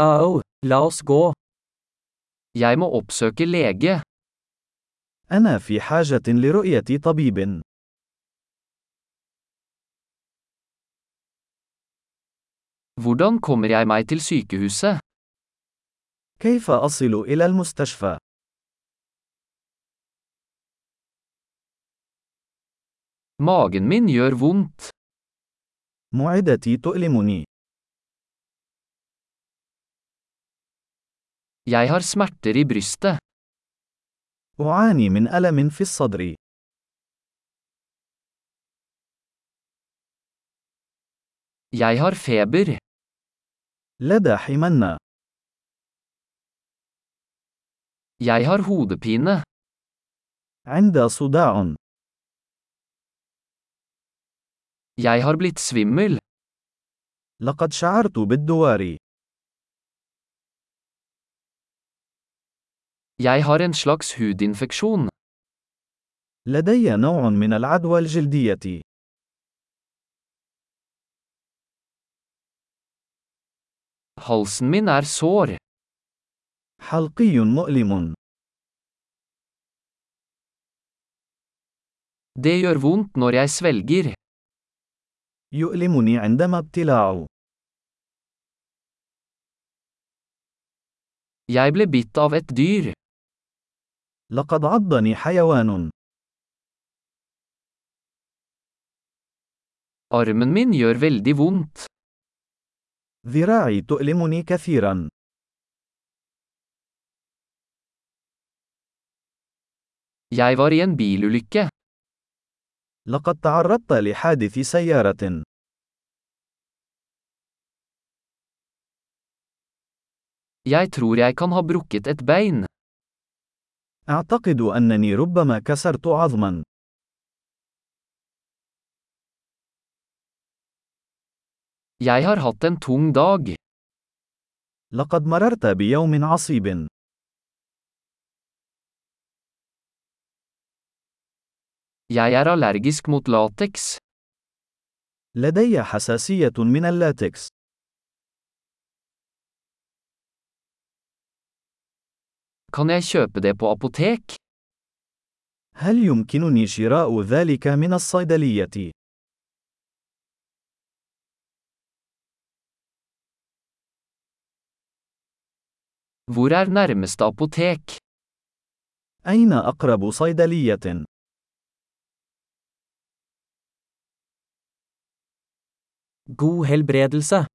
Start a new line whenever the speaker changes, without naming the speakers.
Au, Ah, oh, la oss gå. Jeg må oppsøke lege.
أنا في حاجة لرؤية طبيب.
Hvordan kommer jeg meg til sykehuset?
كيف أصل إلى المستشفى؟
Magen min gjør vondt.
معدتي تؤلمني.
Jeg har smerter i brystet.
أعاني من ألم في الصدر.
Jeg har feber.
لدى حمنة.
Jeg har hodepine.
عند صداع.
Jeg har blitt svimmel.
لقد شعرت بالدوار.
Jeg har en slags hudinfeksjon.
لدي نوع من العدوى الجلدية.
Halsen min er sår.
حلقي مؤلم.
Det gjør vondt når jeg svelger.
يؤلمني عندما ابتلاع.
Jeg ble bitt av et dyr.
لقد عضني حيوان.
Armen min gjør veldig vondt.
ذراعي تؤلمني كثيرا.
Jeg var i en bilulykke.
لقد تعرضت لحادث سيارة.
Jeg tror jeg kan ha brukket et bein.
أعتقد أنني ربما كسرت عظما.
Jeg har hatt en tung dag.
لقد مررت بيوم عصيب.
Jeg er allergisk mot lateks.
لدي حساسية من اللاتكس.
Kan jeg kjøpe det på apotek?
هل يمكنني شراء ذلك من الصيدلية؟
Hvor er nærmeste apotek?
أين أقرب صيدلية؟
God helbredelse.